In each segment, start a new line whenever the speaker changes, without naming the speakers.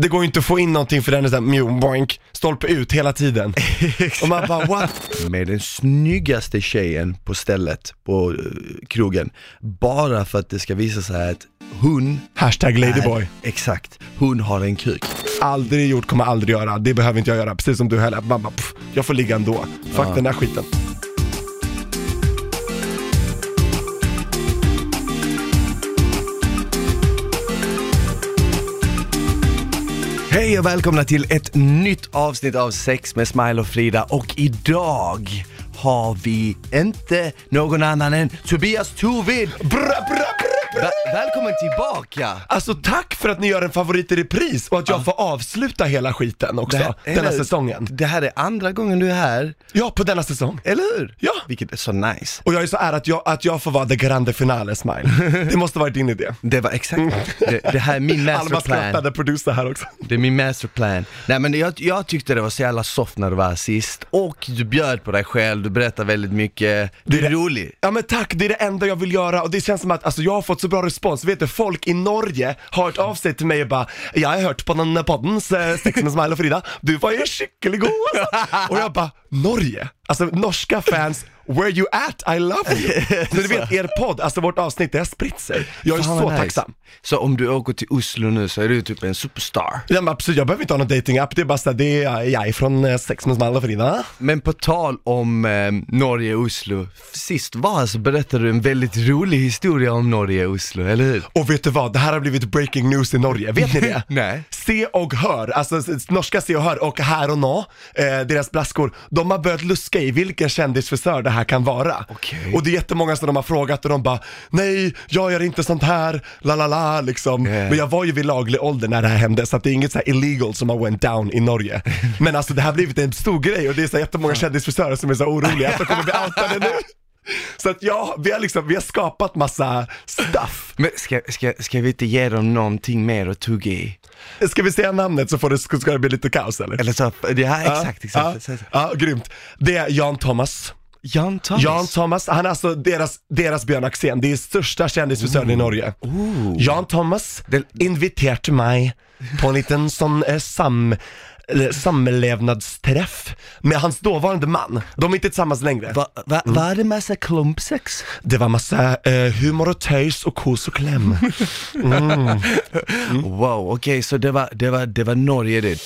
det går ju inte att få in någonting för den är såhär mjom, boink, stolpe ut hela tiden. Och man bara what?
med den snyggaste tjejen på stället, på eh, krogen. Bara för att det ska visa sig att hon
Hashtag ladyboy.
är, exakt, hon har en kuk.
Aldrig gjort, kommer aldrig göra, det behöver inte jag göra. Precis som du heller, man bara, pff, jag får ligga ändå. Fuck den här skiten.
Hej och välkomna till ett nytt avsnitt av Sex med Smile och Frida och idag har vi inte någon annan än Tobias Tovid.
Bra, bra, bra, bra.
Va- välkommen tillbaka!
Alltså tack för att ni gör en favorit i repris och att jag får avsluta hela skiten också, denna
eller-
säsongen.
Det här är andra gången du är här,
Ja, på denna säsong.
eller hur?
Ja.
Vilket är så nice.
Och jag är så ärad att jag, att jag får vara the grande finale smile. Det måste varit din idé.
Det var exakt, det, det här är min
Alma
masterplan.
skrattade, producer här också.
Det är min masterplan. Nej men jag, jag tyckte det var så jävla soft när du var här sist, och du bjöd på dig själv, du berättade väldigt mycket, du är rolig.
Ja men tack, det är det enda jag vill göra och det känns som att alltså, jag har fått så bra respons. Vet du, folk i Norge har hört av sig till mig och bara “Jag har hört på den poddens eh, Sex med Smile och Frida, du var ju skicklig god alltså. Och jag bara “Norge?” Alltså norska fans, “Where you at? I love you”. Så du vet, er podd, alltså vårt avsnitt, det har spritt sig. Jag är
Fan,
så
vad nice.
tacksam.
Så om du åker till Oslo nu så är du typ en superstar.
Ja, men absolut, jag behöver inte ha någon dating-app, det är bara såhär, det är jag från eh, Sex med Smile och Frida.
Men på tal om eh, Norge och Oslo, sist var här så berättade du en väldigt rolig historia om Norge och Oslo, eller hur?
Och vet du vad, det här har blivit breaking news i Norge, vet ni det?
Nej.
Se och Hör, alltså s- s- norska Se och Hör och Här och Nå, eh, deras blaskor, de har börjat luska i vilken kändisfrisör det här kan vara.
Okej.
Och det är jättemånga som de har frågat och de bara, nej, jag gör inte sånt här, la la la liksom.
Yeah.
Men jag var ju vid laglig ålder när det här hände, så att det är inget så här illegal som har went down i Norge. Men alltså det här har blivit en stor grej och det är så här jättemånga kändisfrisörer som är så här oroliga att de kommer bli outade nu. Så att ja, vi har liksom, vi har skapat massa stuff.
Men ska, ska, ska vi inte ge dem någonting mer att tugga i?
Ska vi säga namnet så får det, ska det bli lite kaos eller?
Eller så, det här, exakt,
Ja,
exakt.
ja, ja, grymt. Det är Jan Thomas.
Jan Thomas.
Jan Thomas, han är alltså deras, deras Björn Axén, det är största kändisfrisören i Norge. Jan Thomas
Den-
inviterade mig på en liten sån eh, sam, eller samlevnadsträff med hans dåvarande man. De är inte tillsammans längre.
Va, va, Var det massa klumpsex?
Det var massa eh, humor och töjs och kos och kläm.
Wow, okej, så det var, det, var, det var Norge det.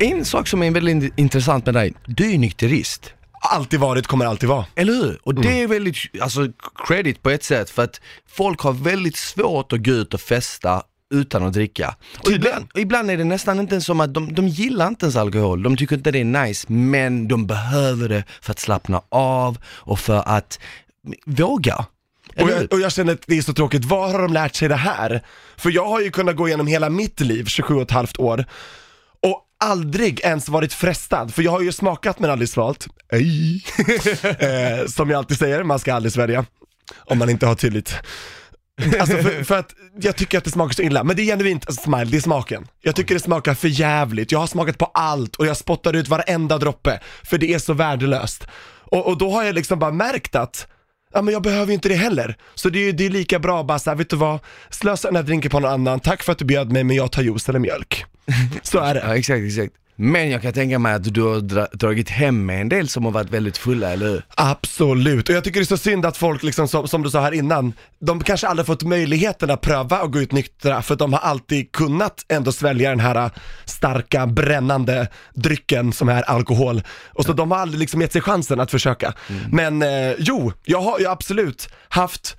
En sak som är väldigt in- intressant med dig, du är ju nykterist.
Alltid varit, kommer alltid vara.
Eller hur? Och det
Mm.
är väldigt, alltså credit på ett sätt för att folk har väldigt svårt att gå ut och festa utan att dricka. Och ibland, och ibland är det nästan inte ens som att de, de gillar inte ens alkohol, de tycker inte det är nice, men de behöver det för att slappna av och för att våga.
Och
Eller hur?
jag, och jag känner att det är så tråkigt, var har de lärt sig det här? För jag har ju kunnat gå igenom hela mitt liv, 27 och ett halvt år, och aldrig ens varit frestad, för jag har ju smakat men aldrig svalt. Ej. eh, som jag alltid säger, man ska aldrig svälja. Om man inte har tillit. Alltså för, för att jag tycker att det smakar så illa, men det är genuint, alltså smile, det är smaken. Jag tycker det smakar för jävligt. jag har smakat på allt och jag spottar ut varenda droppe, för det är så värdelöst. Och, och då har jag liksom bara märkt att, ja men jag behöver ju inte det heller. Så det är ju det är lika bra bara såhär, vet du vad, slösa den här drinken på någon annan, tack för att du bjöd mig men jag tar juice eller mjölk. Så är det.
Ja, exakt, exakt. Men jag kan tänka mig att du har dra- dragit hem med en del som har varit väldigt fulla, eller hur?
Absolut, och jag tycker det är så synd att folk liksom, som, som du sa här innan, de kanske aldrig fått möjligheten att pröva att gå ut nyktra för att de har alltid kunnat ändå svälja den här äh, starka, brännande drycken som är alkohol. Och så de har aldrig liksom gett sig chansen att försöka. Men eh, jo, jag har ju absolut haft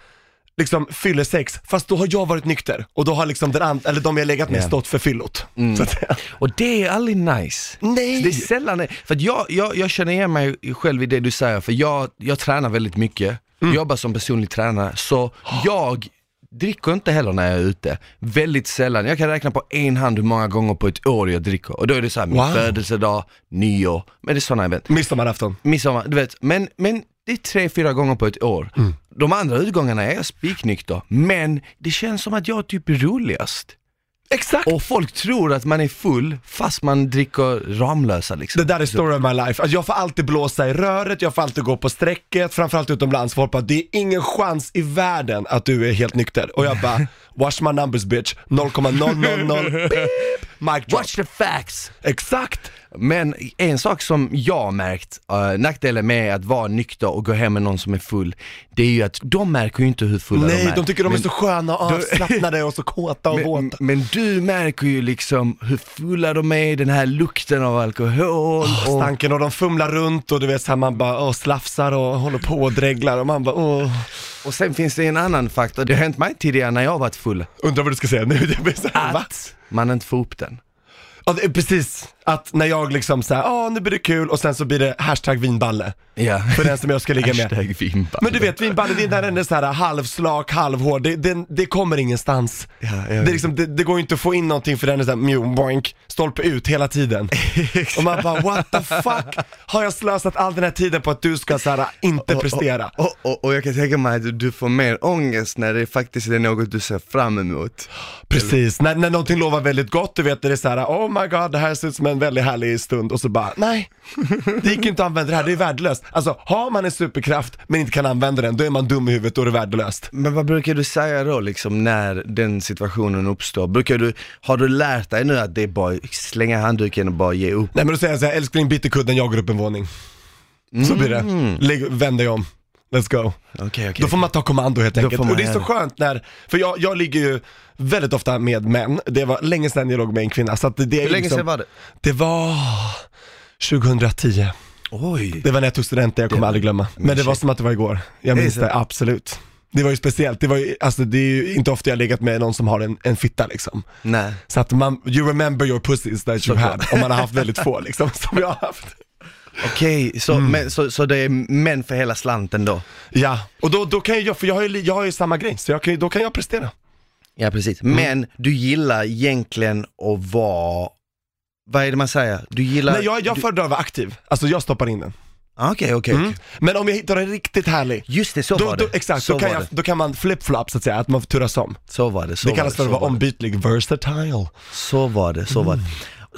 liksom fyllesex, fast då har jag varit nykter och då har liksom den and- eller de jag legat med
Ja.
stått för fyllot. Så att,
Och det är aldrig nice.
nej!
Det är sällan det. För att jag, jag, jag känner igen mig själv i det du säger, för jag, jag tränar väldigt mycket,
Mm.
jobbar som personlig tränare, så jag dricker inte heller när jag är ute. Väldigt sällan. Jag kan räkna på en hand hur många gånger på ett år jag dricker. Och då är det så här, min
Wow.
födelsedag, nyår, men det är sådana event.
Midsommarafton.
midsommar, du vet. Men, men det är tre, fyra gånger på ett år.
Mm.
De andra utgångarna är jag spiknykter, men det känns som att jag typ är roligast.
Exakt!
Och folk tror att man är full fast man dricker Ramlösa liksom.
Det där är story of my life. Alltså jag får alltid blåsa i röret, jag får alltid gå på strecket, framförallt utomlands. Folk bara, det är ingen chans i världen att du är helt nykter. Och jag bara, watch my numbers bitch, 0,000, beep, mic drop.
Watch the facts!
Exakt!
Men en sak som jag har märkt, eh, nackdelen med att vara nykter och gå hem med någon som är full, det är ju att de märker ju inte hur fulla de
Nej,
är.
de tycker de
men,
är så sköna och avslappnade och så kåta och
men,
våta.
men du märker ju liksom hur fulla de är, den här lukten av alkohol och
Stanken och de fumlar runt och du vet så här, man bara åh, slafsar och håller på och dreglar och man bara åh.
Och sen finns det en annan faktor, det har hänt mig tidigare när jag har varit full,
Undrar vad du ska säga nu, jag blir så här, va?
att man inte får upp den.
Ja, det är precis. Att när jag liksom såhär, ja nu blir det kul och sen så blir det hashtag vinballe.
Ja.
För den som jag ska ligga med.
Hashtag vimpa.
Men du vet, vinballe det är när den är såhär halvslak, halvhård, det, det, det kommer ingenstans.
ja,
det, är liksom, det, det går ju inte att få in någonting för den är såhär mjum, boink, stolpe ut hela tiden. och man bara what the fuck, har jag slösat all den här tiden på att du ska såhär
Oh,
inte prestera?
Och, och, och jag kan tänka mig att du får mer ångest när det faktiskt är något du ser fram emot.
Precis, när, när någonting lovar väldigt gott, du vet när det är såhär oh my god det här ser ut som en väldigt härlig stund och så bara nej, det gick inte att använda det här, det är värdelöst. Alltså har man en superkraft men inte kan använda den, då är man dum i huvudet, då är det värdelöst.
Men vad brukar du säga då liksom när den situationen uppstår? Brukar du, har du lärt dig nu att det är bara slänga handduken och bara ge upp?
Nej men då säger jag såhär, älskling bit i kudden, jag går upp en våning. Så blir det, Lägg, vänd dig om, let's go.
Mm. Okej
Då får man ta kommando helt enkelt.
får man
Och det är så
göra
skönt när, för jag, jag ligger ju väldigt ofta med män, det var länge sedan jag låg med en kvinna så att det, det är
Hur länge
liksom,
sedan var det?
Det var 2010.
Oj.
Det var när jag tog studenten, jag kommer aldrig glömma. Men det var som att det var igår. Jag
Det är
minns
så.
det, absolut. Det var ju speciellt, det, var ju, alltså, det är ju inte ofta jag legat med någon som har en, en fitta liksom.
Nej.
Så att man, you remember your pussies that you
Såklart.
had, om man har haft väldigt få liksom, som jag har haft.
Okej, så, men, så, så det är män för hela slanten då?
Ja, och då, då kan ju jag, för jag har ju, li- jag har ju samma grej, så jag kan, ju- då kan jag prestera.
Ja precis,
Mm.
men du gillar egentligen att vara, vad är det man säger? Du gillar...
Nej, jag, jag
du-
föredrar att vara aktiv, alltså jag stoppar in den.
Ah, Okej, okej.
Mm. Men om jag hittar en riktigt härlig,
Just det, så
då,
var det.
då, exakt,
så
då kan,
var
jag,
det.
då kan man flip-flop så att säga, att man turas om.
Så var det, så
Det
var
kallas för
så
att vara Mm.
var det.
ombytlig, versatile.
Så var det, så var det.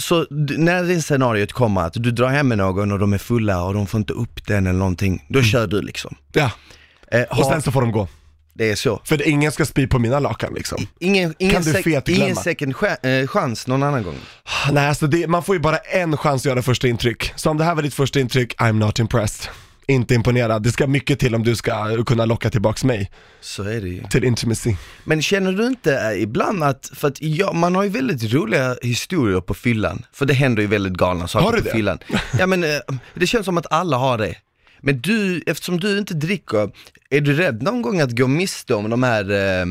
Så d- när det scenariot kommer att du drar hem med någon och de är fulla och de får inte upp den eller någonting, då kör du liksom.
Ja,
Eh,
Mm. och
ha-
sen så får de gå.
det är så.
För det- ingen ska spy på mina lakan liksom.
Ingen, ingen,
Kan du
sec-
fetglömma?
ingen second cha- eh, chans någon annan gång.
Nej alltså det, man får ju bara en chans att göra första intryck. Så om det här var ditt första intryck, I'm not impressed. Inte imponerad. Det ska mycket till om du ska kunna locka tillbaks mig
Så är det ju.
till intimacy.
Men känner du inte eh, ibland att, för att ja, man har ju väldigt roliga historier på fyllan, för det händer ju väldigt galna saker
Har du
på
det?
fyllan. Ja men eh, det känns som att alla har det. Men du, eftersom du inte dricker, är du rädd någon gång att gå miste om de här, eh,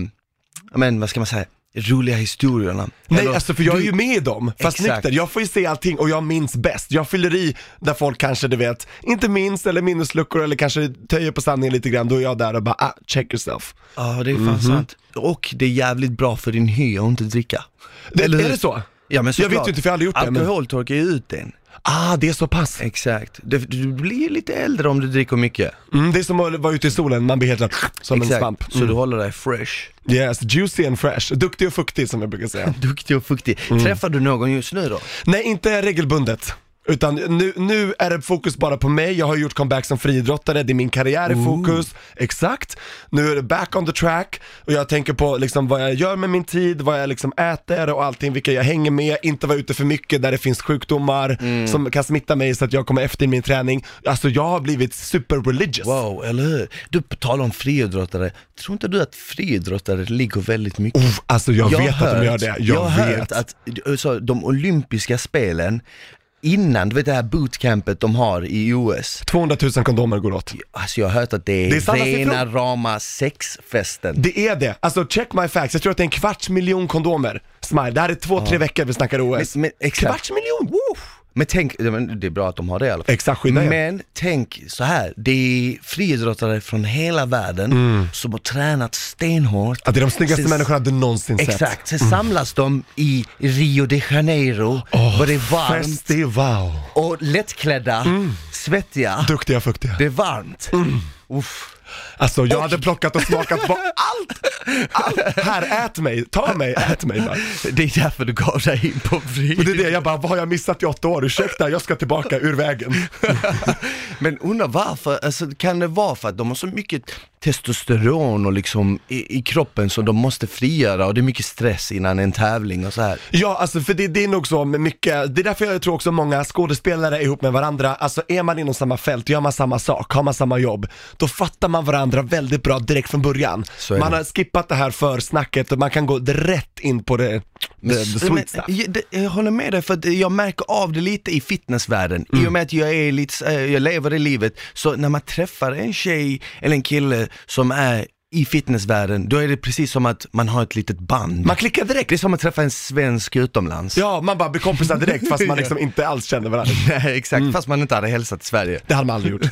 ja, men vad ska man säga, roliga historierna?
Nej
Eller-
alltså för jag är
du-
ju med i dem, fast
Exakt.
nykter. Jag får ju se allting och jag minns bäst. Jag fyller i där folk kanske du vet, inte minns eller minnesluckor eller kanske töjer på sanningen lite grann. Då är jag där och bara ah, check yourself.
Ja det är
Mhm.
fan sant. Och det är jävligt bra för din hy att inte dricka.
Det,
Eller hur?
är det så?
Ja
Jag
men
vet
såklart.
ju inte för jag har aldrig gjort det. Men...
Alkohol torkar ju ut den.
Ah det är så pass.
Exakt. Du, du blir ju lite äldre om du dricker mycket.
Mm, det är som att vara ute i solen, man blir helt som en
Exakt,
svamp. Mm.
så du håller dig fresh.
Yes, juicy and fresh. Duktig och fuktig som jag brukar säga.
Duktig och fuktig. Träffar du någon just nu då?
Nej, inte regelbundet. Utan nu, nu är det fokus bara på mig, jag har gjort comeback som friidrottare, det är min karriär i fokus, exakt. Nu är det back on the track och jag tänker på liksom vad jag gör med min tid, vad jag liksom äter och allting, vilka jag hänger med, inte vara ute för mycket där det finns sjukdomar
Mm.
som kan smitta mig så att jag kommer efter i min träning. Alltså jag har blivit super religious.
Wow, eller hur? Du, på tal om friidrottare, tror inte du att friidrottare ligger väldigt mycket?
Uff, alltså jag, vet att de gör det, jag,
har
vet.
hört att alltså, de olympiska spelen, innan, du vet det här bootcampet de har i OS,
200 000 kondomer går åt.
alltså jag har hört att det är,
Det är sanna
rena
siffror.
rama sexfesten.
Det är det, alltså check my facts, jag tror att det är en kvarts miljon kondomer. Smile, det här är två, tre veckor vi snackar OS.
Men- men exakt.
kvarts miljon, woo!
Men tänk, ja, men det är bra att de har det i alla fall.
Exakt, skydda er.
Men tänk så här, det är friidrottare från hela världen som har tränat stenhårt.
Att det är de snyggaste
Sen-
människorna du någonsin sett.
Exakt, sen samlas de i Rio de Janeiro,
Åh,
var det är varmt
Festival.
och lättklädda, svettiga,
Duktiga, fuktiga.
det är varmt. Uff.
Alltså jag hade plockat och smakat på allt! Allt! Här, ät mig, ta mig, ät mig bara.
Det är därför du gav dig in på
Och
vrid.
det är det, jag bara, vad har jag missat i åtta år? Ursäkta, jag ska tillbaka ur vägen.
Men undrar varför, alltså, kan det vara för att de har så mycket testosteron och liksom i, i kroppen som de måste frigöra och det är mycket stress innan en tävling och så här.
Ja, alltså för det, det är nog så med mycket, det är därför jag tror också många skådespelare är ihop med varandra, alltså är man inom samma fält, gör man samma sak, har man samma jobb, då fattar man varandra väldigt bra direkt från början.
Så är
Man
det.
har skippat det här försnacket och man kan gå rätt in på det, the, the
Men,
sweet stuff.
jag, det, jag håller med dig för att jag märker av det lite i fitnessvärlden.
Mm.
I och med att jag, är lite, eh, jag lever det livet, så när man träffar en tjej eller en kille som är i fitnessvärlden, då är det precis som att man har ett litet band.
Man klickar direkt.
det är som att träffa en svensk utomlands.
Ja, man bara blir kompisar direkt fast man liksom inte alls känner varandra.
Nej, exakt,
Mm.
fast man inte hade hälsat i Sverige.
Det hade man aldrig gjort.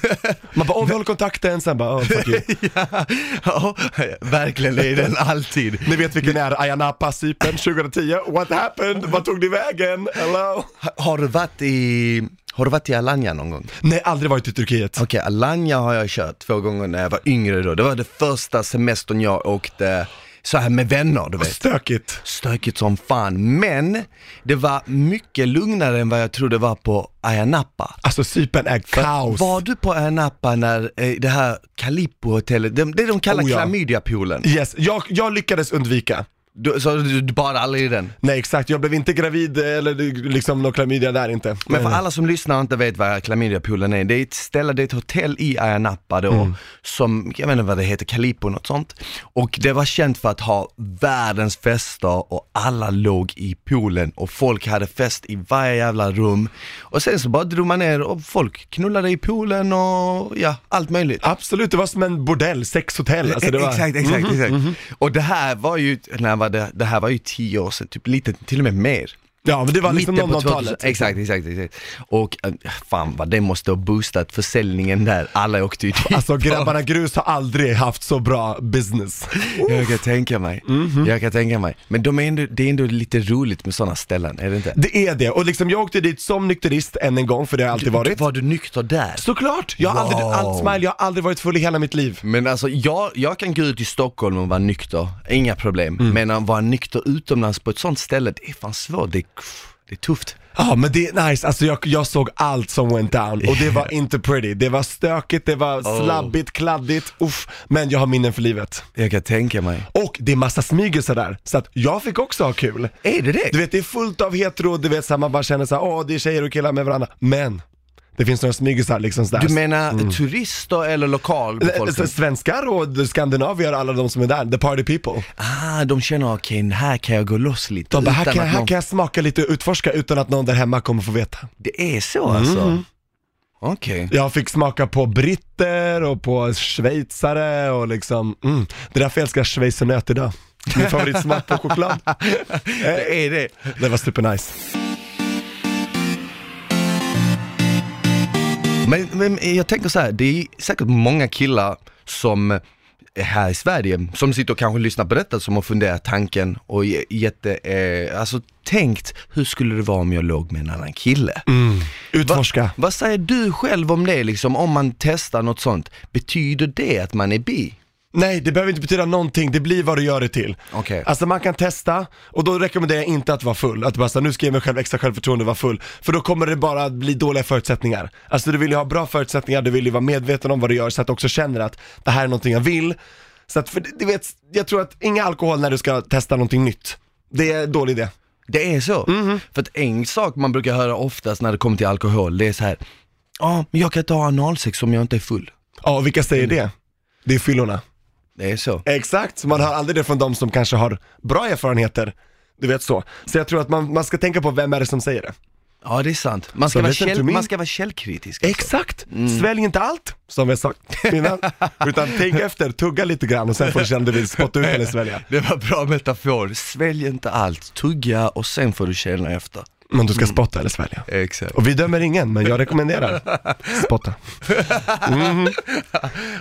Man bara, åh vi håller kontakten, sen bara, åh fuck you.
ja, verkligen, det är den alltid.
Ni vet vilken är, Ayia Napa, Cypern 2010. What happened? Vad tog ni vägen? Hello?
Ha- Har du varit i, har du varit i Alanya någon gång?
Nej, aldrig varit i Turkiet.
Okej, Alanya har jag kört två gånger när jag var yngre då. Det var det första semestern jag åkte så här med vänner, du vet.
Stökigt.
Stökigt som fan, men det var mycket lugnare än vad jag trodde var på Ayia Napa.
Alltså Cypern är kaos.
Var du på Ayia Napa när eh, det här Calippo-hotellet, det, det de kallar
Oh, ja.
klamydiapoolen?
Yes, jag, jag lyckades undvika.
Du, så du, du bad aldrig i den?
Nej exakt, jag blev inte gravid eller liksom någon klamydia där inte.
Men för
Nej.
alla som lyssnar och inte vet vad klamydiapoolen är, det är ett ställe, det är ett hotell i Ayia Napa då,
Mm.
som, jag vet inte vad det heter, Calippo något sånt. Och det var känt för att ha världens fester och alla låg i poolen och folk hade fest i varje jävla rum. Och sen så bara drog man ner och folk knullade i poolen och ja, allt möjligt.
Absolut, det var som en bordell, sexhotell. Alltså, det var...
Eh,
mhm.
Exakt, exakt, exakt. Och det här var ju, när var det, det här var ju tio år sedan, typ lite, till och med mer.
Ja, men det var liksom
Mitten på 2000
00-talet.
Exakt, exakt, exakt. Och äh, fan vad det måste ha boostat försäljningen där, alla åkte ju dit.
Alltså grabbarna grus har aldrig haft så bra business.
Jag kan tänka mig, jag kan tänka mig. Men de är ändå, det är ändå lite roligt med sådana ställen, är det inte?
Det är det, och liksom jag åkte dit som nykterist än en gång, för det har jag alltid varit.
Var du nykter där?
Såklart! Jag har aldrig,
Wow.
allt smile, jag har aldrig varit full i hela mitt liv.
Men alltså jag, jag kan gå ut i Stockholm och vara nykter, inga problem. Men att vara nykter utomlands på ett sånt ställe, det är fan svårt, det är, det är tufft.
Ja men det är nice, alltså jag, jag såg allt som went down och det var inte pretty. Det var stökigt, det var slabbigt, kladdigt, uff. Men jag har minnen för livet.
Jag kan tänka mig.
Och det är massa smygisar där, så att jag fick också ha kul.
Är det det?
Du vet det är fullt av hetero, du vet så här, man bara känner såhär, åh det är tjejer och killar med varandra. Men, det finns några smygisar liksom sådär.
Du mm. menar turister eller
Så
lokalbefolkning?
Svenskar och skandinavier, alla de som är där, the party people.
Ah, de känner okej, här kan jag gå loss lite.
De bara, här
utan
kan,
att
här
någon-
kan jag smaka lite och utforska utan att någon där hemma kommer få veta.
Det är så alltså? Okej.
Jag fick smaka på britter och på schweizare och liksom, mm. Det är därför jag älskar schweizernöt idag. Min favoritsmak på choklad.
Det är det.
Det var supernice.
Men, men jag tänker så här, det är säkert många killar som är här i Sverige, som sitter och kanske lyssnar på detta, som har funderat tanken och ge- jätte, eh, alltså tänkt, hur skulle det vara om jag låg med en annan kille?
Utforska.
Vad säger du själv om det liksom, om man testar något sånt, betyder det att man är bi?
Nej, det behöver inte betyda någonting, det blir vad du gör det till.
Okej.
Alltså man kan testa, och då rekommenderar jag inte att vara full. Att bara säga nu ska jag ge mig själv extra självförtroende att vara full. För då kommer det bara att bli dåliga förutsättningar. Alltså du vill ju ha bra förutsättningar, du vill ju vara medveten om vad du gör så att du också känner att det här är någonting jag vill. Så att, för det- du vet, jag tror att inga alkohol när du ska testa någonting nytt. Det är en dålig idé.
Det är så? För att en sak man brukar höra oftast när det kommer till alkohol, det är så här, ja, men jag kan inte ha analsex om jag inte är full.
Ja, och vilka säger det? Det är fyllorna.
Det är så.
Exakt, så man hör aldrig det från de som kanske har bra erfarenheter. Du vet så. Så jag tror att man, man ska tänka på vem är det som säger det.
Ja det är sant. Man
Så
ska, vara,
listen to
käll,
me.
man ska vara källkritisk. alltså.
Exakt, svälj inte allt som jag sagt innan. Utan tänk efter, tugga lite grann och sen får du känna om du vill spotta ut eller svälja.
Det var bra metafor. Svälj inte allt, tugga och sen får du känna efter.
Men du ska spotta eller svälja.
Exakt.
Och vi dömer ingen, men jag rekommenderar. Spotta.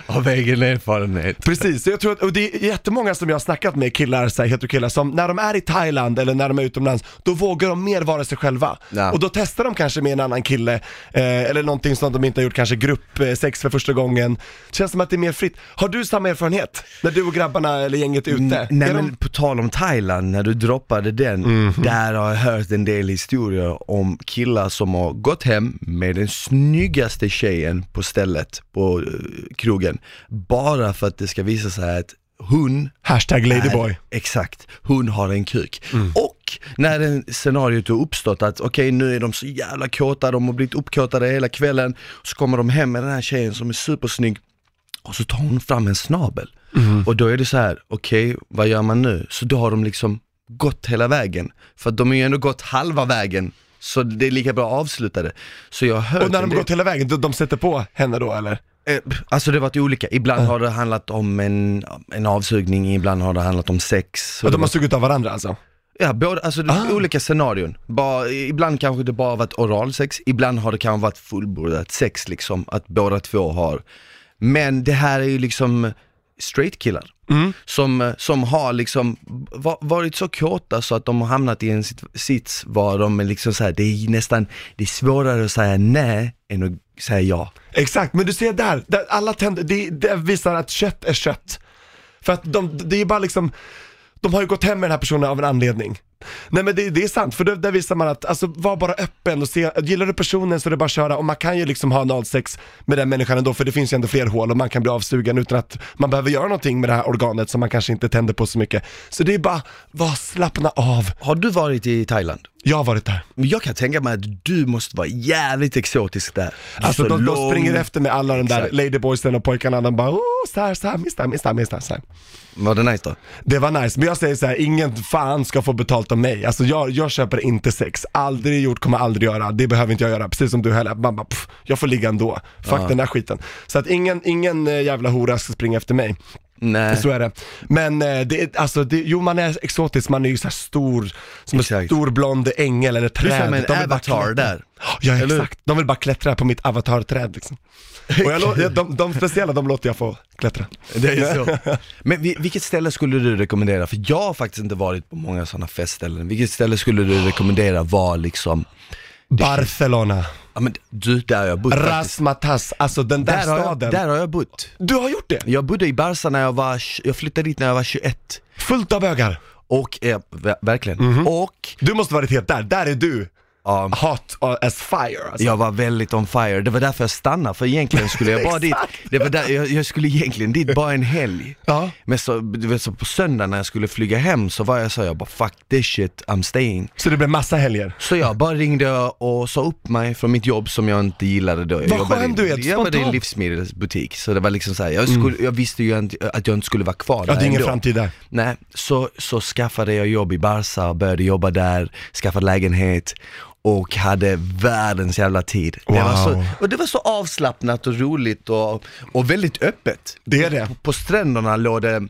Av egen erfarenhet.
Precis, jag tror att, och det är jättemånga som jag har snackat med, killar, så här, heterokillar, som när de är i Thailand eller när de är utomlands, då vågar de mer vara sig själva.
Ja.
Och då testar de kanske med en annan kille, eh, eller någonting som de inte har gjort, kanske gruppsex för första gången. Känns som att det är mer fritt. Har du samma erfarenhet? När du och grabbarna eller gänget är ute?
Nej
är de- Mhm.
men på tal om Thailand, när du droppade den, där har jag hört en del historier om killar som har gått hem med den snyggaste tjejen på stället, på eh, krogen, bara för att det ska visa sig att hon
Hashtag ladyboy.
är- Exakt, hon har en kuk.
Mm.
Och när en scenariot har uppstått att okej nu är de så jävla kåta, de har blivit uppkåtade hela kvällen, så kommer de hem med den här tjejen som är supersnygg och så tar hon fram en snabel.
Mm.
Och då är det så här, okej vad gör man nu? Så då har de liksom gått hela vägen, för att de har ju ändå gått halva vägen, så det är lika bra att avsluta det. Så jag hör
Och när de gått hela vägen, de, de sätter på henne då eller?
Eh, Alltså det har varit olika, ibland har det handlat om en, en avsugning, ibland har det handlat om sex. Så
Och
det
de har sugit av varandra alltså?
Ja, både, alltså det
Ah.
olika scenarion. Bara, ibland kanske det bara har varit oralsex, ibland har det kanske varit fullbordat sex liksom, att båda två har. Men det här är ju liksom straight killar.
Mm.
Som, som har liksom va- varit så kåta så att de har hamnat i en sit- sits var de är liksom så här, det är nästan, det är svårare att säga nej än att säga ja.
Exakt, men du ser där, där alla tänder, det, det visar att kött är kött. För att de, det är bara liksom, de har ju gått hem med den här personen av en anledning. Nej men det, det är sant, för då, där visar man att, alltså var bara öppen och se, gillar du personen så är det bara att köra och man kan ju liksom ha analsex med den människan ändå för det finns ju ändå fler hål och man kan bli avsugen utan att man behöver göra någonting med det här organet som man kanske inte tänder på så mycket. Så det är bara, var slappna av.
Har du varit i Thailand?
Jag har varit där.
Jag kan tänka mig att du måste vara jävligt exotisk där. Du är
Alltså
så
de, de
lång.
springer efter med alla de där
Exakt.
ladyboysen och pojkarna, de bara oh, star, star, mr, mr, mr, star.
Var det nice då?
Det var nice, men jag säger så här: ingen fan ska få betalt av mig. Alltså jag, jag köper inte sex, aldrig gjort, kommer aldrig göra, det behöver inte jag göra, precis som du heller. Man bara, pff, jag får ligga ändå, fuck den där skiten. Så att ingen, ingen eh, jävla hora ska springa efter mig,
Nej.
så är det. Men eh, det, är- alltså, det, jo man är exotisk, man är ju såhär stor, som en
Exakt.
stor blond ängel eller
Du
träd.
är som en
De vill bara
avatar
klättra.
där.
Ja
Eller hur?
exakt, de vill bara klättra på mitt avatarträd liksom. Och jag, lå- jag- de, de speciella, de låter jag få klättra.
Det är så. Men vi- vilket ställe skulle du rekommendera? För jag har faktiskt inte varit på många sådana festställen. Vilket ställe skulle du rekommendera var liksom,
Barcelona,
ja men du, där har jag bott faktiskt.
Rasmatas, alltså den där,
Där har, jag,
staden.
där har jag bott.
Du har gjort det?
Jag bodde i Barca när jag var, tj- jag flyttade dit när jag var 21.
Fullt av bögar.
Och, eh, ver- verkligen.
Mhm.
Och,
Du måste varit helt där, där är du
ja.
hot as fire alltså.
Jag var väldigt on fire, det var därför jag stannade, för egentligen skulle jag bara dit, det var där, jag, jag skulle egentligen dit bara en helg.
Ja.
Men så, du vet, så på söndag när jag skulle flyga hem så var jag så, jag bara fuck this shit, I'm staying.
Så det blev massa helger.
Så jag bara ringde och sa upp mig från mitt jobb som jag inte gillade då. Jag
Vad
jobbade i-
skön du är,
Jag jobbade i en
spontant. Mm.
livsmedelsbutik, så det var liksom såhär, jag, skulle, jag visste ju inte, att jag inte skulle vara kvar
Ja,
där
det är ingen
ändå.
framtid där.
Nej, så, så skaffade jag jobb i Barca, började jobba där, skaffade lägenhet och hade världens jävla tid. Det, var
Wow.
så, och det var så avslappnat och roligt och, och väldigt öppet.
Det är det.
På, på stränderna låg det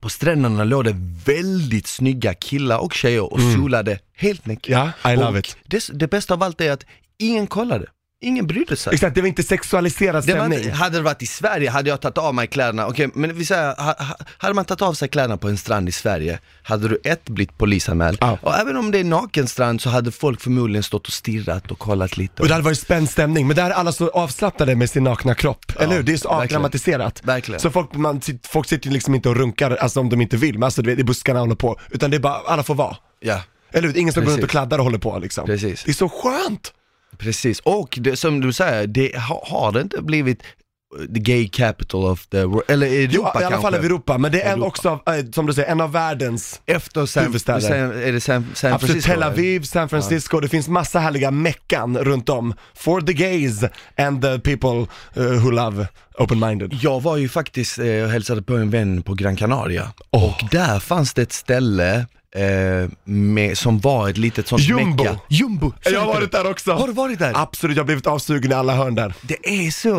på stränderna låg det väldigt snygga killar och tjejer och solade helt näck.
Mm. Ja, I love
och
it.
Det, det bästa av allt är att ingen kollade, ingen brydde sig.
Exakt, det var inte sexualiserad
Det var
stämning.
inte, hade det varit i Sverige hade jag tagit av mig kläderna, okej men vi säger, ha, ha, hade man tagit av sig kläderna på en strand i Sverige, hade du ett blivit polisanmäld,
Ja.
och även om det är naken strand så hade folk förmodligen stått och stirrat och kollat lite.
Och det hade varit spänd stämning, men där är alla så avslappnade med sin nakna kropp, eller hur? Det är så
verkligen.
avdramatiserat.
Verkligen.
Så folk, man, sit- folk sitter ju liksom inte och runkar, alltså om de inte vill, men alltså du vet, i buskarna och håller på, utan det är bara, alla får vara.
Ja,
Eller hur? Ingen som går
Precis.
runt och kladdar och håller på liksom.
Precis.
Det är så skönt!
precis. Och det, som du säger, det, ha, har det inte blivit eh, the gay capital of the world, eller Europa
Jo, i alla
kanske?
fall över Europa, men det är en
Europa.
också, av, eh, som du säger, en av världens
Efter San,
Huvudstäder.
San, är det San, San
Absolut,
Francisco?
Tel Aviv, San Francisco, det finns massa härliga meckan runt om. For the gays and the people eh, who love open-minded.
Jag var ju faktiskt eh, och hälsade på en vän på Gran Canaria och där fanns det ett ställe eh, med, som var ett litet sånt
Jumbo.
mecka. Jumbo! så
Jag har
heter
varit där också.
det. Har du varit där?
Absolut, jag har blivit avsugen i alla hörn där.
Det är så?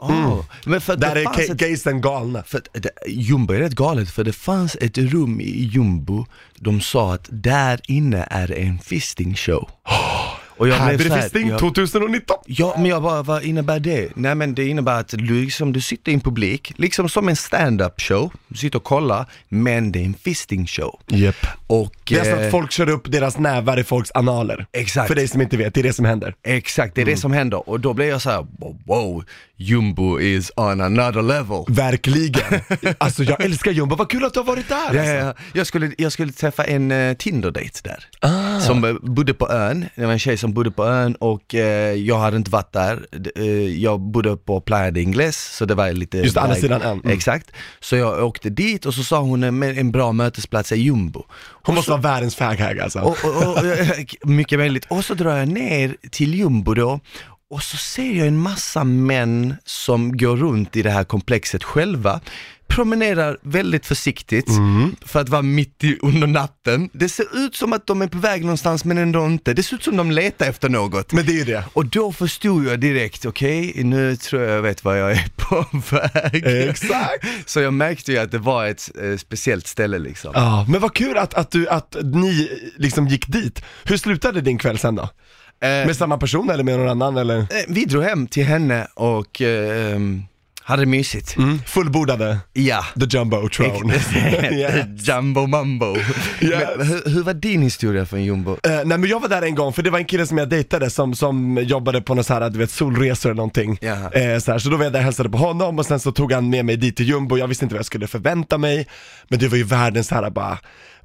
Ah. Men för att
Mm. Där
det
är
fanns
ga-
ett
gaysen galna.
För att det, Jumbo är rätt galet, för det fanns ett rum i Jumbo, de sa att där inne är en fisting show. Och
Här blir
så
det fisting
jag-
2019.
Ja, men jag bara, vad innebär det? Nej men det innebär att du, liksom, du sitter i en publik, liksom som en stand-up show, du sitter och kollar, men det är en fisting show.
Yep.
Och...
Det är alltså
eh,
att folk kör upp deras nävar i folks analer.
Exakt.
För dig som inte vet, det Mm. är det som händer.
Exakt, det är det som händer och då blir jag så här: wow, Jumbo is on another level.
Verkligen. Alltså jag älskar Jumbo, vad kul att du har varit där.
Ja, ja,
alltså.
ja. Jag, skulle, jag skulle träffa en eh, Tinder-date där,
Ah.
som eh, bodde på ön, det var en tjej som bodde på ön och eh, jag hade inte varit där, D- eh, jag bodde på Playa de Ingles så det var lite
Just andra
väg-
sidan ön. Mm.
Exakt, så jag åkte dit och så sa hon en, en bra mötesplats är jumbo
Hon måste vara världens faghag alltså.
och, och, och, och, mycket möjligt. Och så drar jag ner till Jumbo då och så ser jag en massa män som går runt i det här komplexet själva. Promenerar väldigt försiktigt
Mm.
för att vara mitt i under natten. Det ser ut som att de är på väg någonstans men ändå inte. Det ser ut som de letar efter något.
Men det är ju det.
Och då förstod jag direkt, okej, nu tror jag jag vet vad jag är på väg.
Exakt.
Så jag märkte ju att det var ett eh, speciellt ställe liksom.
Ja, men vad kul att, att, du, att ni liksom gick dit. Hur slutade din kväll sen då?
Eh,
Med samma person eller med någon annan eller?
Eh, Vi drog hem till henne och eh, ehm, hade det mysigt.
Mm. Fullbordade
Ja.
the jumbo throne. yeah.
Jumbo mambo. Men, hur, hur var din historia från Jumbo?
Eh, nej men jag var där en gång, för det var en kille som jag dejtade som, som jobbade på något så här, du vet solresor eller någonting.
Jaha.
Eh, så, här. så då var jag där och hälsade på honom och sen så tog han med mig dit till jumbo, jag visste inte vad jag skulle förvänta mig. Men det var ju världens så här bara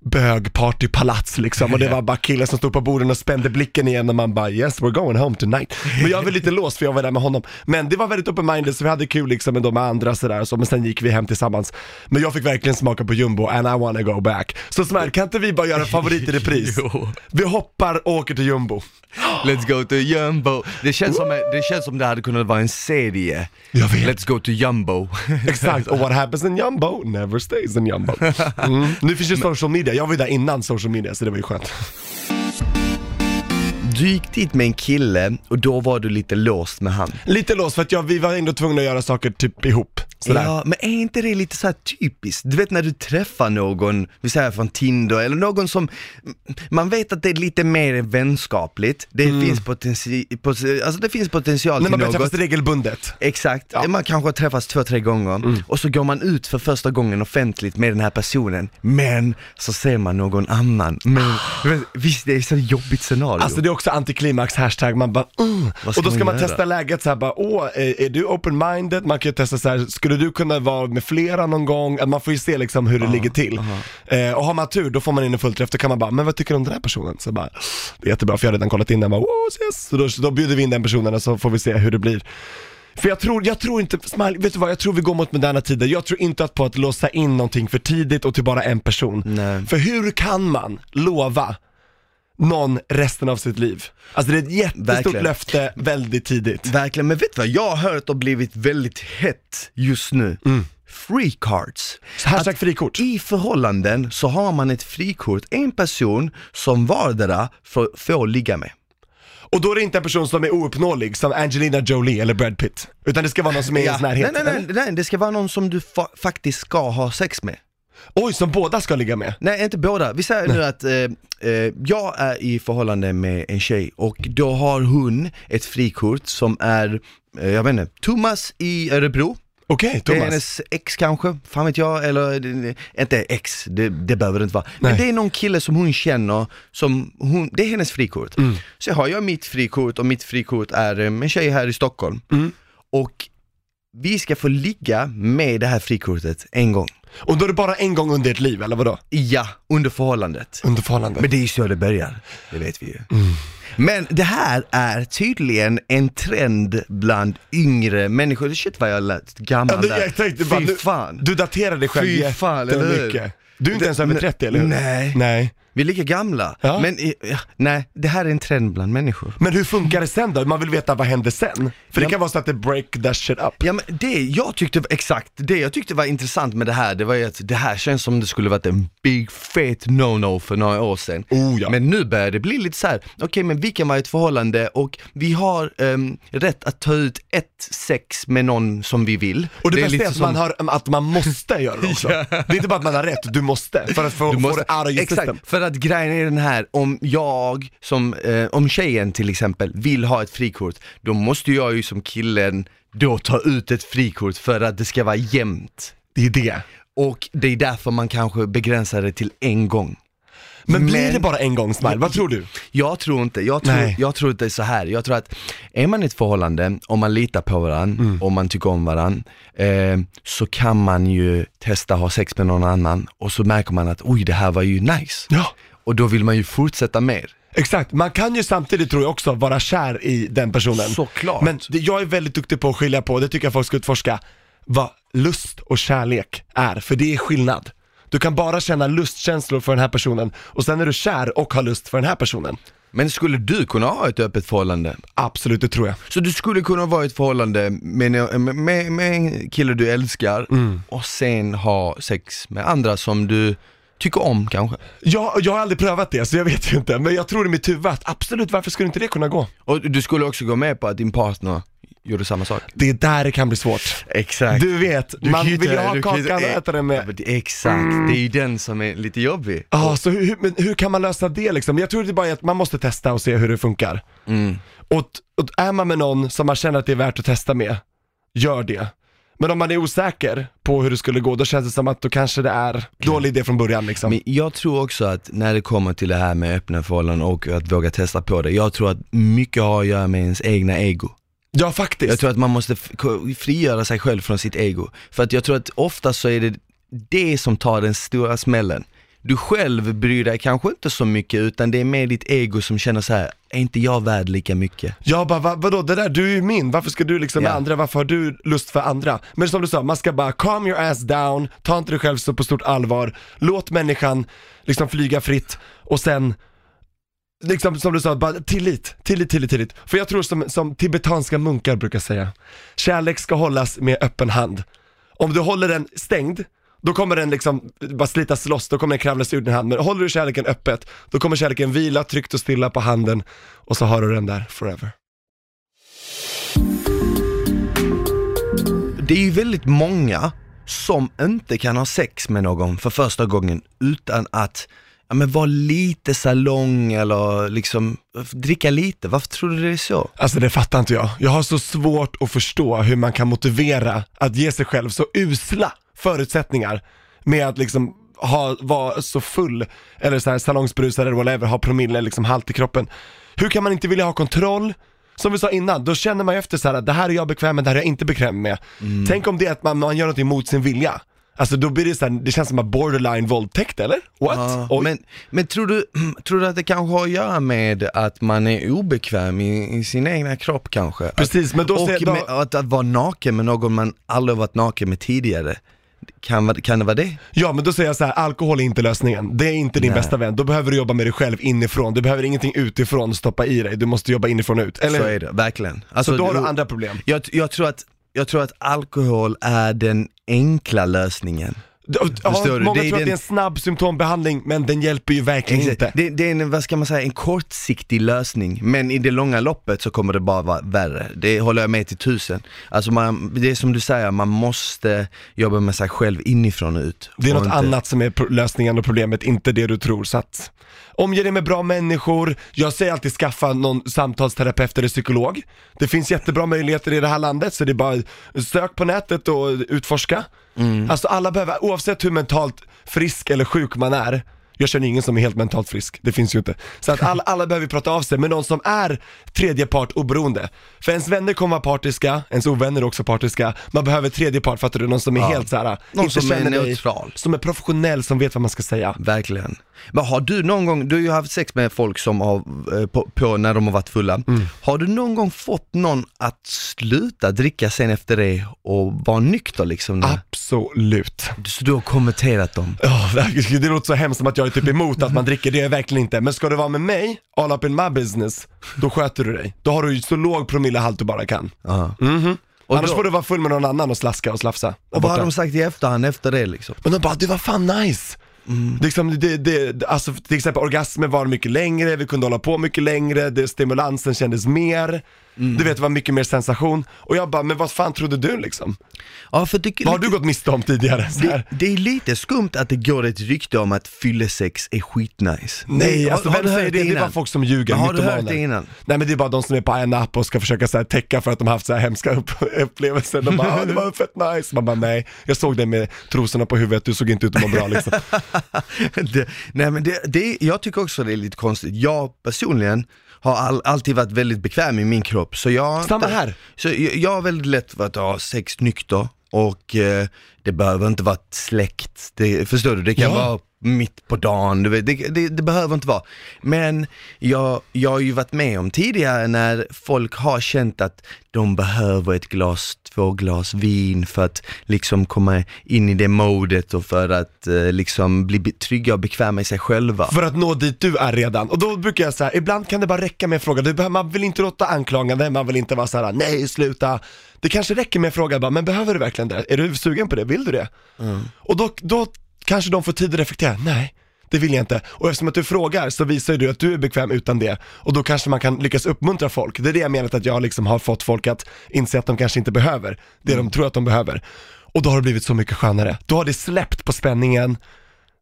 bögpartypalats liksom och det var bara killar som stod på borden och spände blicken igen och man bara yes we're going home tonight. Men jag var lite låst för jag var där med honom. Men det var väldigt open-minded så vi hade kul liksom med de andra sådär så, men sen gick vi hem tillsammans. Men jag fick verkligen smaka på jumbo and I wanna go back. Så Smär, kan inte vi bara göra favorit i repris?
Jo.
Vi hoppar och åker till jumbo.
Let's go to Jumbo. Det känns, som, det känns som det hade kunnat vara en serie.
Jag vet.
Let's go to Jumbo.
Exakt, och what happens in jumbo never stays in jumbo. Mm. Nu finns ju social media, jag var ju där innan social media så det var ju skönt.
Du gick dit med en kille och då var du lite låst med han.
Lite låst för att jag, vi var ändå tvungna att göra saker typ ihop. Sådär.
Ja, men är inte det lite så här typiskt? Du vet när du träffar någon, vi säger från Tinder, eller någon som, man vet att det är lite mer vänskapligt, det, finns, potenti- pot- alltså det finns potential
Mm. När man
till
börjar
något.
träffas regelbundet.
Exakt, man kanske har träffats två, tre gånger
Mm.
och så går man ut för första gången offentligt med den här personen, men så ser man någon annan. Men, men visst, det är ett så jobbigt scenario.
Alltså det är också antiklimax hashtag, man bara mm.
Vad ska
Och då ska
man
man,
göra?
testa läget såhär bara, åh, är, är du open-minded? Man kan ju testa såhär, skulle du kunna vara med flera någon gång? Att Man får ju se liksom hur det ligger till. Eh, och har man tur, då får man in en fullträff, då kan man bara, men vad tycker du om den här personen? Så bara, det är jättebra för jag har redan kollat in den, bara, wow, yes. Så då, så då bjuder vi in den personen och så får vi se hur det blir. För jag tror, jag tror inte, Smile, vet du vad, jag tror vi går mot moderna tider. Jag tror inte att på att låsa in någonting för tidigt och till bara en person.
Nej.
För hur kan man lova någon resten av sitt liv? Alltså det är ett jättestort
Verkligen.
löfte väldigt tidigt.
Verkligen, men vet du vad? Jag har hört och blivit väldigt hett just nu.
Mm.
Free cards.
Hashtag frikort.
I förhållanden så har man ett frikort, en person som vardera får, får ligga med.
Och då är det inte en person som är ouppnåelig, som Angelina Jolie eller Brad Pitt. Utan det ska vara någon som är i ens
Nej,
närhet.
nej, nej, nej, det ska vara någon som du fa- faktiskt ska ha sex med.
Oj, som båda ska ligga med.
Nej, inte båda. Vi säger nu att eh, eh, jag är i förhållande med en tjej och då har hon ett frikort som är, eh, jag vet inte, Thomas i Örebro.
Okej,
Det är
Thomas.
hennes ex kanske, fan vet jag, eller eh, inte ex, det, det behöver det inte vara. Men
Nej.
det är någon kille som hon känner, som hon, det är hennes frikort.
Mm.
Så har jag mitt frikort och mitt frikort är eh, en tjej här i Stockholm.
Mm.
Och vi ska få ligga med det här frikortet en gång.
Och då är det bara en gång under ert liv, eller vadå?
Ja, under förhållandet.
Under förhållande.
Men det är ju så det börjar, det vet vi ju.
Mm.
Men det här är tydligen en trend bland yngre människor. Shit vad jag lät gammal
Ja, du,
där.
jag tänkte bara,
Fy
nu,
fan.
du daterar dig själv
Fy fan, eller hur?
jättemycket. Du är inte ens över 30 eller hur?
Nej.
Nej.
Vi är lika gamla.
Ja.
Men i- ja, nej, det här är en trend bland människor.
Men hur funkar det sen då? Man vill veta vad händer sen. För det
Ja.
kan vara så att det break that shit up.
Ja men det jag tyckte, exakt, det jag tyckte var intressant med det här, det var ju att det här känns som det skulle varit en big fet no-no för några år sedan.
Oh, ja.
Men nu börjar det bli lite så här. okej men vi kan vara i ett förhållande och vi har ehm, rätt att ta ut ett sex med någon som vi vill.
Och det, bästa
lite
är att,
som-
man har, att man måste göra det också. Det är inte bara att man har rätt, du måste. För att få,
Du måste-
få det out of your
Exakt,
system.
för att grejen är den här, om jag som, eh, om tjejen till exempel vill ha ett frikort, då måste jag ju som killen då ta ut ett frikort för att det ska vara jämnt.
Det är det.
Och det är därför man kanske begränsar det till en gång.
Men, blir
Men-
det bara en gång Smile? Vad tror du?
Jag tror inte, jag tror,
Nej.
jag tror att det är så här. jag tror att är man i ett förhållande, om man litar på varandra,
Mm.
om man tycker om varandra, eh, så kan man ju testa ha sex med någon annan och så märker man att oj det här var ju nice.
Ja.
Och då vill man ju fortsätta mer.
Exakt, man kan ju samtidigt tror jag också vara kär i den personen.
Såklart.
Men det, jag är väldigt duktig på att skilja på, det tycker jag folk ska utforska, vad lust och kärlek är, för det är skillnad. Du kan bara känna lustkänslor för den här personen och sen är du kär och har lust för den här personen.
Men skulle du kunna ha ett öppet förhållande?
Absolut, det tror jag.
Så du skulle kunna vara i ett förhållande med, med, med en kille du älskar och sen ha sex med andra som du tycker om kanske?
jag. Jag har aldrig prövat det, så jag vet ju inte, men jag tror i mitt huvud att absolut, varför skulle inte det kunna gå?
Och du skulle också gå med på att din partner gjorde samma sak?
Det är där det kan bli svårt.
Exakt.
Du vet, man vill ju ha kakan och äta den med.
Exakt, det är ju den som är lite jobbig.
Ja, så hur, hur, men hur kan man lösa det liksom? Jag tror det är bara är att man måste testa och se hur det funkar.
Mm.
Och, t- och är man med någon som man känner att det är värt att testa med, gör det. Men om man är osäker på hur det skulle gå, då känns det som att då kanske det är dålig idé från början liksom.
Men jag tror också att när det kommer till det här med öppna förhållanden och att våga testa på det, jag tror att mycket har att göra med ens egna ego.
ja, faktiskt.
Jag tror att man måste f- ko- frigöra sig själv från sitt ego. För att jag tror att ofta så är det det som tar den stora smällen. Du själv bryr dig kanske inte så mycket utan det är mer ditt ego som känner så här, är inte jag värd lika mycket?
Jag bara, va, vadå det där, du är ju min, varför ska du liksom
Ja.
med andra, varför har du lust för andra? Men som du sa, man ska bara calm your ass down, ta inte dig själv så på stort allvar, låt människan liksom flyga fritt och sen Liksom som du sa, bara tillit, tillit, tillit, tillit. För jag tror som, som tibetanska munkar brukar säga, kärlek ska hållas med öppen hand. Om du håller den stängd, då kommer den liksom bara slitas loss, då kommer den kravla sig ur din hand. Men håller du kärleken öppet, då kommer kärleken vila tryggt och stilla på handen och så har du den där forever.
Det är ju väldigt många som inte kan ha sex med någon för första gången utan att ja, men vara lite salong eller liksom dricka lite. Varför tror du det är så?
Alltså det fattar inte jag. Jag har så svårt att förstå hur man kan motivera att ge sig själv så usla förutsättningar med att liksom ha, vara så full, eller så här salongsberusad eller whatever, ha promille liksom halt i kroppen. Hur kan man inte vilja ha kontroll? Som vi sa innan, då känner man ju efter så här att det här är jag bekväm med, det här är jag inte bekväm med.
Mm.
Tänk om det är att man, man gör någonting mot sin vilja. Alltså då blir det så här, det känns som en borderline våldtäkt eller? What?
Ja,
Oj.
men men tror, du, tror du att det kanske har att göra med att man är obekväm i, i sin egna kropp kanske?
Precis, men då
och
ser- då-
med, att, att vara naken med någon man aldrig varit naken med tidigare, kan, va- kan det vara det?
Ja men då säger jag så här, alkohol är inte lösningen. Det är inte din
Nej.
bästa vän. Då behöver du jobba med dig själv inifrån. Du behöver ingenting utifrån stoppa i dig. Du måste jobba inifrån och ut. Eller
Så
hur?
är det, verkligen. Alltså,
Så då har du andra problem.
jag, jag, tror att, jag tror att alkohol är den enkla lösningen.
Ja,
Förstår du?
många
Det är
tror att
den-
det är en snabb symptombehandling, men den hjälper ju verkligen inte.
Det, det är en, vad ska man säga, en kortsiktig lösning, men i det långa loppet så kommer det bara vara värre. Det håller jag med till tusen. Alltså man, det är som du säger, man måste jobba med sig själv inifrån och ut.
Det är
Och
något
inte-
annat som är pro- lösningen och problemet, inte det du tror. Så att omge dig med bra människor. Jag säger alltid skaffa någon samtalsterapeut eller psykolog. Det finns jättebra möjligheter i det här landet, så det är bara sök på nätet och utforska. Alltså alla behöver, oavsett hur mentalt frisk eller sjuk man är, jag känner ingen som är helt mentalt frisk, det finns ju inte. Så att alla, alla behöver prata av sig med någon som är tredje part oberoende. För ens vänner kommer vara partiska, ens ovänner är också partiska. Man behöver tredje part, fattar du? Någon som är helt såhär,
Någon
inte
som är
känner dig.
neutral.
Som är professionell, som vet vad man ska säga.
Verkligen. Men har du någon gång, du har ju haft sex med folk som har, eh, på, på när de har varit fulla.
Mm.
Har du någon gång fått någon att sluta dricka sen efter det och vara nykter liksom?
Absolut.
Så du har konverterat dem?
Ja, det här- det låter så hemskt som att jag jag är typ emot att man dricker, det är jag verkligen inte. Men ska du vara med mig, all up in my business, då sköter du dig. Då har du ju så låg promillehalt du bara kan.
Ja.
Och
Och
Annars
då-
får du vara full med någon annan och slaska och slafsa.
Och vad har
Borta.
de sagt i efterhand efter det liksom?
Men de bara, det var fan nice!
Mm.
Liksom, det, det, alltså, till exempel orgasmen var mycket längre, vi kunde hålla på mycket längre, det, stimulansen kändes mer,
Mm.
du vet det var mycket mer sensation. Och jag bara, men vad fan trodde du liksom?
Ja, för det,
Vad har du gått miste om tidigare? Så här.
det, det är lite skumt att det går ett rykte om att fyllesex är skitnice.
Nej,
Har-
alltså
har
vem
du
säger
hört
det? Det är
innan?
bara folk som ljuger,
Har du
mytomaner.
hört det innan?
Nej men det är bara de som är på Ayia Napa och ska försöka så här täcka för att de har haft så här hemska upp- upplevelser. De bara, "Ah, det var fett nice. Man bara, nej, jag såg dig med trosorna på huvudet, du såg inte ut att må bra liksom.
det, nej men det, det, jag tycker också det är lite konstigt. Jag personligen har all, alltid varit väldigt bekväm i min kropp. Så jag, har inte-
Samma här.
Så jag, jag har väldigt lätt för att ha sex nykter och eh, det behöver inte vara ett släkt. Det, förstår du? Det kan
Ja.
vara mitt på dagen, du vet, det, det, det behöver inte vara. Men jag, jag har ju varit med om tidigare när folk har känt att de behöver ett glas, två glas vin för att liksom komma in i det modet och för att eh, liksom bli be- trygga och bekväma i sig själva.
För att nå dit du är redan. Och då brukar jag säga, ibland kan det bara räcka med en fråga. Du behöver- Man vill inte låta anklagande, man vill inte vara så här: nej sluta. Det kanske räcker med en fråga bara, men behöver du verkligen det? Är du sugen på det? Vill du det? Och då, då kanske de får tid att reflektera, nej. Det vill jag inte. Och eftersom att du frågar så visar ju du att du är bekväm utan det. Och då kanske man kan lyckas uppmuntra folk. Det är det jag menar att jag liksom har fått folk att inse att de kanske inte behöver det de tror att de behöver. Och då har det blivit så mycket skönare. Då har det släppt på spänningen,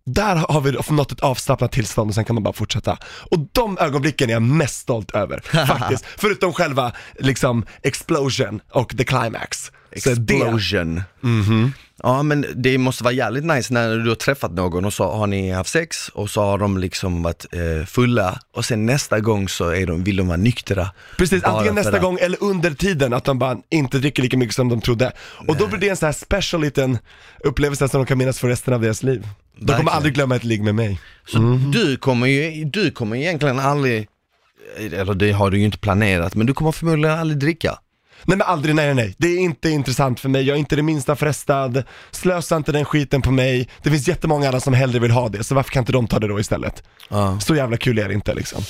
där har vi nått ett avslappnat tillstånd och sen kan man bara fortsätta. Och de ögonblicken är jag mest stolt över, faktiskt. Förutom själva liksom explosion och the climax. Så det-
Explosion.
Mhm.
Ja men det måste vara jävligt nice när du har träffat någon och så har ni haft sex och så har de liksom varit eh, fulla och sen nästa gång så är de, vill de vara nyktra.
Precis,
Bara
antingen
för
nästa
att-
gång eller under tiden att de bara inte dricker lika mycket som de trodde. Och då blir det en sån här special liten upplevelse som de kan minnas för resten av deras liv. De kommer
Verkligen.
aldrig glömma ett ligg med mig.
Så
Mhm.
du kommer ju, du kommer egentligen aldrig, eh, eller det har du ju inte planerat, men du kommer förmodligen aldrig dricka.
Nej men aldrig, nej nej nej. Det är inte intressant för mig, jag är inte det minsta frestad, slösa inte den skiten på mig. Det finns jättemånga andra som hellre vill ha det, så varför kan inte de ta det då istället?
Ja.
Så jävla kul är det inte liksom.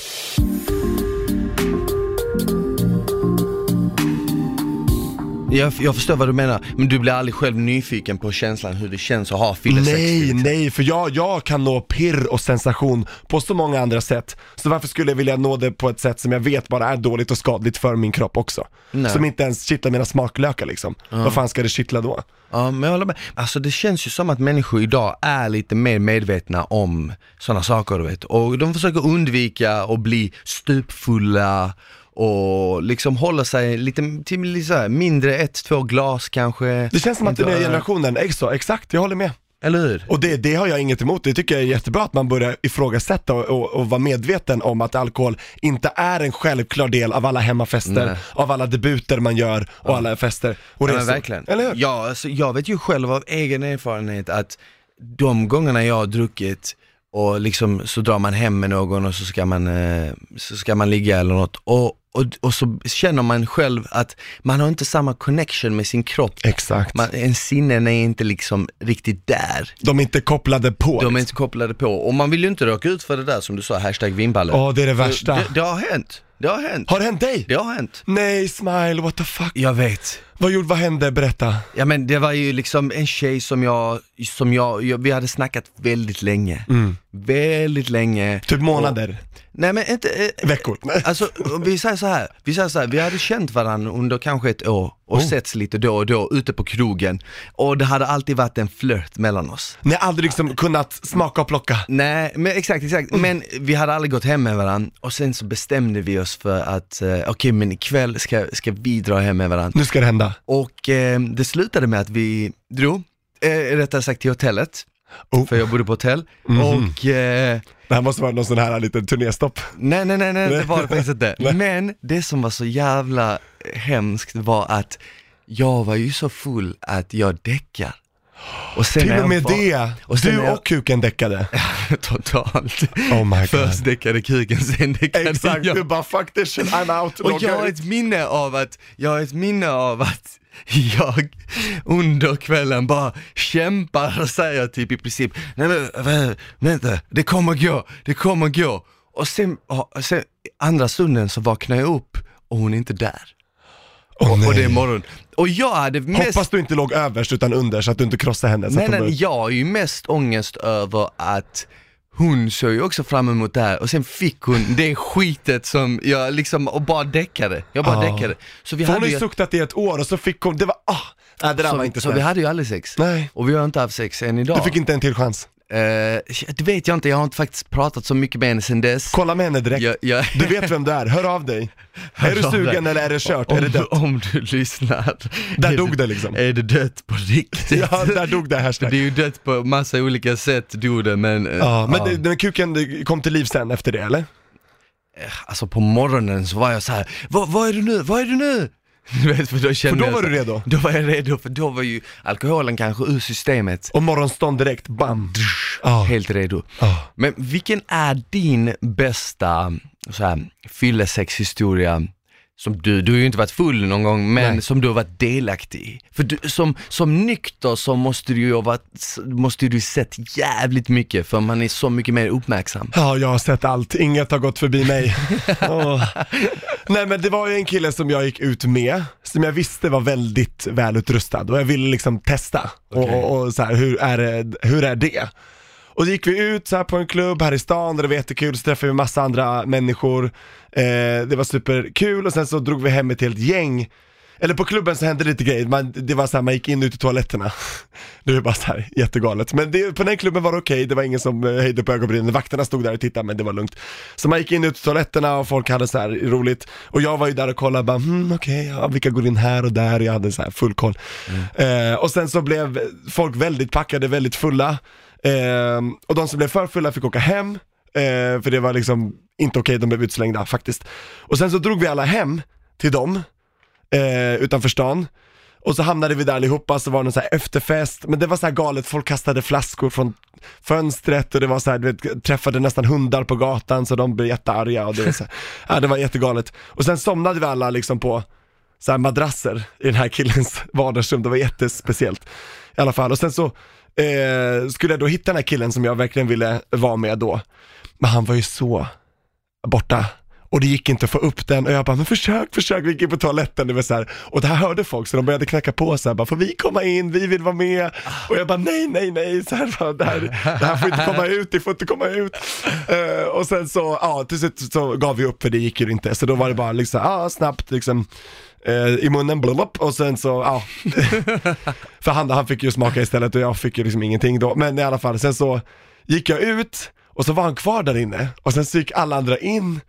Jag, jag förstår vad du menar, men du blir aldrig själv nyfiken på känslan hur det känns att ha fyllesex. till
Nej,
exempel.
nej, för jag, jag kan nå pirr och sensation på så många andra sätt. Så varför skulle jag vilja nå det på ett sätt som jag vet bara är dåligt och skadligt för min kropp också?
Nej.
Som inte ens kittlar mina smaklökar liksom. Vad fan ska det kittla då?
Ja, men jag håller med. Alltså det känns ju som att människor idag är lite mer medvetna om sådana saker, du vet. Och de försöker undvika att bli stupfulla och liksom hålla sig lite, till lite så här, mindre ett, två glas kanske.
Det känns som att den nya
Inte-
generationen är så, exakt, jag håller med.
Eller hur?
Och det, det har jag inget emot, det tycker jag är jättebra att man börjar ifrågasätta och, och, och vara medveten om att alkohol inte är en självklar del av alla hemmafester,
Nej.
av alla debuter man gör och alla fester och
Ja,
resor.
men verkligen.
Eller hur?
Ja, alltså, jag vet ju själv av egen erfarenhet att de gångerna jag har druckit och liksom så drar man hem med någon och så ska man, eh, så ska man ligga eller något och, och, och så känner man själv att man har inte samma connection med sin kropp.
Exakt.
Man, en sinnen är inte liksom riktigt där.
De är inte kopplade på.
De är
liksom.
inte kopplade på och man vill ju inte råka ut för det där som du sa, hashtag vinballe.
Ja, det är det värsta.
Eh, Det, det har hänt, det har hänt,
Har det hänt dig?
det har hänt.
Nej, smile, what the fuck.
Jag vet.
Vad gjorde, vad hände? Berätta.
Ja men det var ju liksom en tjej som jag, som jag, jag vi hade snackat väldigt länge. Väldigt länge.
Typ månader,
Nej men inte, eh,
veckor. Nej.
alltså vi säger så här, vi säger så här, vi hade känt varandra under kanske ett år och setts lite då och då ute på krogen. Och det hade alltid varit en flört mellan oss.
Ni har aldrig liksom kunnat smaka och plocka.
Nej, men exakt, exakt. Men vi hade aldrig gått hem med varandra och sen så bestämde vi oss för att, eh, okej men ikväll ska, ska vi dra hem med varandra.
Nu ska det hända.
Och eh, det slutade med att vi drog, eh, rättare sagt till hotellet,
Oh. Mhm.
för jag bodde på hotell. Och eh,
Det här måste vara någon sån här liten turnéstopp.
nej, nej, nej, nej, det var det faktiskt
Nej.
inte. Men det som var så jävla hemskt var att jag var ju så full att jag däckar. Och sen
Till
är
och
jag
med
bara-
det!
och sen
du
är jag-
och kuken däckade.
Totalt.
Oh my god.
Först däckade kuken, sen däckade
Exakt,
jag.
du bara fuck this shit, I'm out,
Och
logga
jag har
ut.
ett minne av att, jag har ett minne av att jag under kvällen bara kämpar och säger typ i princip, nej men vä- vänta, det kommer gå, det kommer gå. Och sen, och sen andra stunden så vaknar jag upp och hon är inte där.
Åh,
och det är
nej.
morgon. Och jag hade mest
Hoppas du inte låg överst utan under så att du inte krossade henne. Så
Nej,
att hon
nej,
bara-
jag har ju mest ångest över att hon såg ju också fram emot det här och sen fick hon det skitet som jag liksom, och bara däckade. Jag bara
Ja.
däckade. Så vi
För hon
hade
har
ju,
ju suktat i ett år och så fick hon, det var, ah, nej det där var inte
så, så vi
snällt.
hade ju aldrig sex.
Nej,
Och vi har inte haft sex än idag.
du fick inte en till chans.
Eh, det vet jag inte, jag har inte faktiskt pratat så mycket med henne sen dess.
Kolla med henne direkt.
Jag, jag,
Du vet vem det är, hör av dig. är du
av
sugen
dig.
eller är det kört?
om,
Är det
du,
dött?
om du lyssnar.
Där
Är
dog det liksom.
Är det dött på riktigt?
Ja, där dog det hashtag.
Det är ju dött på massa olika sätt, dog det men... eh,
Ja, men det- den kuken det kom till liv sen efter det eller?
Alltså på morgonen så var jag så här, "Va- vad är du nu, vad är du nu? Du vet, för då kände
då
jag
var
så-
du redo?
Då var jag redo, för då var ju alkoholen kanske ur systemet.
Och morgonstånd direkt, bam. Ja.
Helt redo.
Ja.
Men vilken är din bästa så här, fyllesexhistoria som du, du har ju inte varit full någon gång, men
Nej.
som du har varit delaktig i? För du, som, som nykter så måste du ju ha varit, måste du ju sett jävligt mycket, för man är så mycket mer uppmärksam.
Ja, jag har sett allt. Inget har gått förbi mig. Åh. Nej men det var ju en kille som jag gick ut med, som jag visste var väldigt välutrustad och jag ville liksom testa.
Okej.
Och, och så här, hur, är det, hur är det? Och så gick vi ut så här på en klubb här i stan där det var jättekul, så träffade vi massa andra människor. Eh, det var superkul och sen så drog vi hem ett helt gäng. Eller på klubben så hände lite grejer, man, det var så här, man gick in och ut i toaletterna. Det var bara så här, jättegalet. Men det, på den klubben var det okej, det var ingen som eh, höjde på ögonbrynen, vakterna stod där och tittade men det var lugnt. Så man gick in och ut i toaletterna och folk hade så här roligt. Och jag var ju där och kollade bara, hmm, okej, ja, vilka går in här och där? Jag hade så här full koll. Eh, och sen så blev folk väldigt packade, väldigt fulla. Ehm, och de som blev för fulla fick åka hem, eh, för det var liksom inte okej, de blev utslängda faktiskt. Och sen så drog vi alla hem till dem, eh, utanför stan. Och så hamnade vi där allihopa, så var det en så här efterfest, men det var så här galet, folk kastade flaskor från fönstret och det var så här, du vet, träffade nästan hundar på gatan så de blev jättearga och det var så här, ja, det var jättegalet. Och sen somnade vi alla liksom på så här madrasser i den här killens vardagsrum, det var jättespeciellt i alla fall. Och sen så eh, skulle jag då hitta den här killen som jag verkligen ville vara med då, men han var ju så borta. Och det gick inte att få upp den och jag bara, men försök, försök, vi gick in på toaletten, det var så här. Och det här hörde folk så de började knacka på så här, bara, får vi komma in, vi vill vara med. Och jag bara, nej, nej, nej, så här, bara, det, här, det här får inte komma ut, det får inte komma ut. Eh, och sen så, ja, till slut så gav vi upp för det gick ju inte. Så då var det bara liksom, ja, snabbt liksom, eh, i munnen, blop, och sen så, ja. För han, han fick ju smaka istället och jag fick ju liksom ingenting då. Men i alla fall, sen så gick jag ut och så var han kvar där inne och sen så gick alla andra in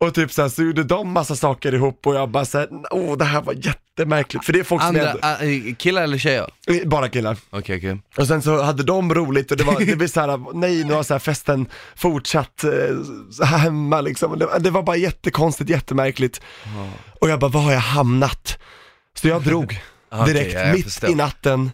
och typ så, här, så gjorde de massa saker ihop och jag bara såhär, åh det här var jättemärkligt. För det är folk som
Andra,
jag,
äh, killar eller tjejer?
Eh, bara killar.
Okej, okej.
Och sen så hade de roligt och det var, det blev såhär, nej nu har så här festen fortsatt eh, så här hemma liksom. Och Det, det var bara jättekonstigt, jättemärkligt. Och jag bara, var har jag hamnat? Så jag drog
Ah, okej,
direkt,
ja, jag
mitt
förstår.
i natten.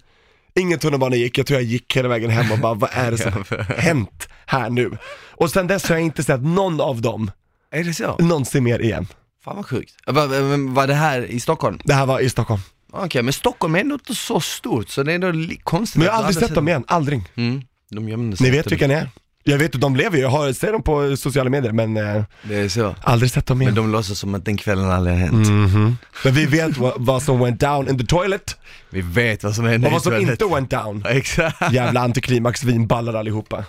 Ingen tunnelbana gick, jag tror jag gick hela vägen hem och bara, vad är det som har hänt här nu? Och sen dess har jag inte sett någon av dem
Är det så?
någonsin mer igen.
Fan vad sjukt. Eh, Va- va- va- Var det här i Stockholm?
Det här var i Stockholm.
Okej, men Stockholm är ändå inte så stort så det är ändå li- konstigt
Men jag
att
har
du
aldrig sett dem igen, aldrig.
Mm, de gömde sig.
Ni vet
inte.
vilka ni är. Jag vet att de lever ju, jag har, ser dem på sociala medier men eh,
Det är så.
aldrig sett dem
Men
igen.
de låtsas som att den kvällen aldrig har hänt.
Mm. Men vi vet vad, vad som went down in the toilet
Vi vet vad som hände
och vad som
i toaletten.
inte went down.
Exakt.
Jävla antiklimax vinballar allihopa.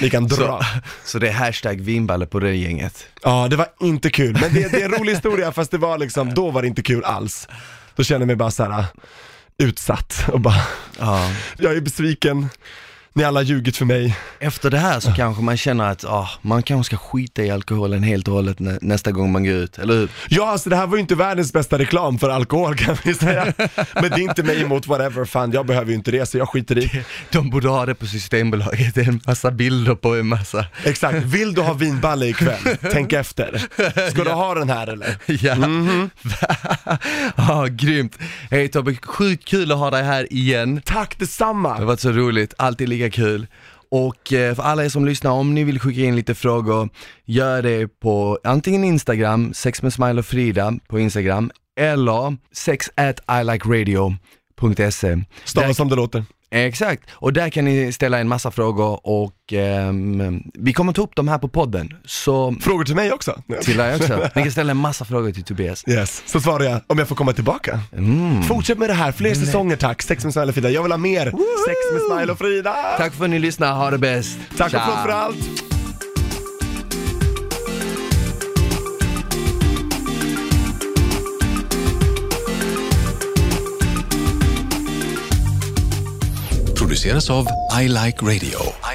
Ni kan
Så,
dra.
så det är hashtag vinballe på det gänget.
Ja, det var inte kul. Men det, det är en rolig historia fast det var liksom, då var det inte kul alls. Då kände jag mig uh, bara så här äh, utsatt och bara,
Ja.
jag är besviken. Ni alla har ljugit för mig.
Efter det här så kanske man känner att ah, man kanske ska skita i alkoholen helt och hållet nä- nästa gång man går ut, eller hur?
Ja, alltså det här var ju inte världens bästa reklam för alkohol kan vi säga. Men det är inte mig emot whatever, fan jag behöver ju inte det så jag skiter i.
De borde ha det på Systembolaget, det är en massa bilder på en massa.
Exakt, vill du ha vinballe ikväll? Tänk efter. Ska du ha den här eller?
Ja,
Mhm.
ah, grymt. Hej Tobbe, sjukt kul att ha dig här igen.
Tack
Det har
detsamma!
varit så roligt, alltid lika kul. Och eh, för alla er som lyssnar, om ni vill skicka in lite frågor, gör det på antingen Instagram, sex med smile och Frida på Instagram, eller sex at ilikeradio.se.
Stava som det låter.
E. Exakt, och där kan ni ställa en massa frågor och ehm, vi kommer ta upp dem här på podden. Så
Frågor till mig också?
till dig också, ni kan ställa en massa frågor till Tobias.
Yes, Mm. så svarar jag om jag får komma tillbaka. Fortsätt med det här, fler säsonger tack. Sex med Smile och Frida, jag vill ha mer. Sex med Smile och Frida!
Tack för att ni lyssnar, ha det bäst.
Tack och
Ciao.
förlåt för allt!
produceras av I Like Radio.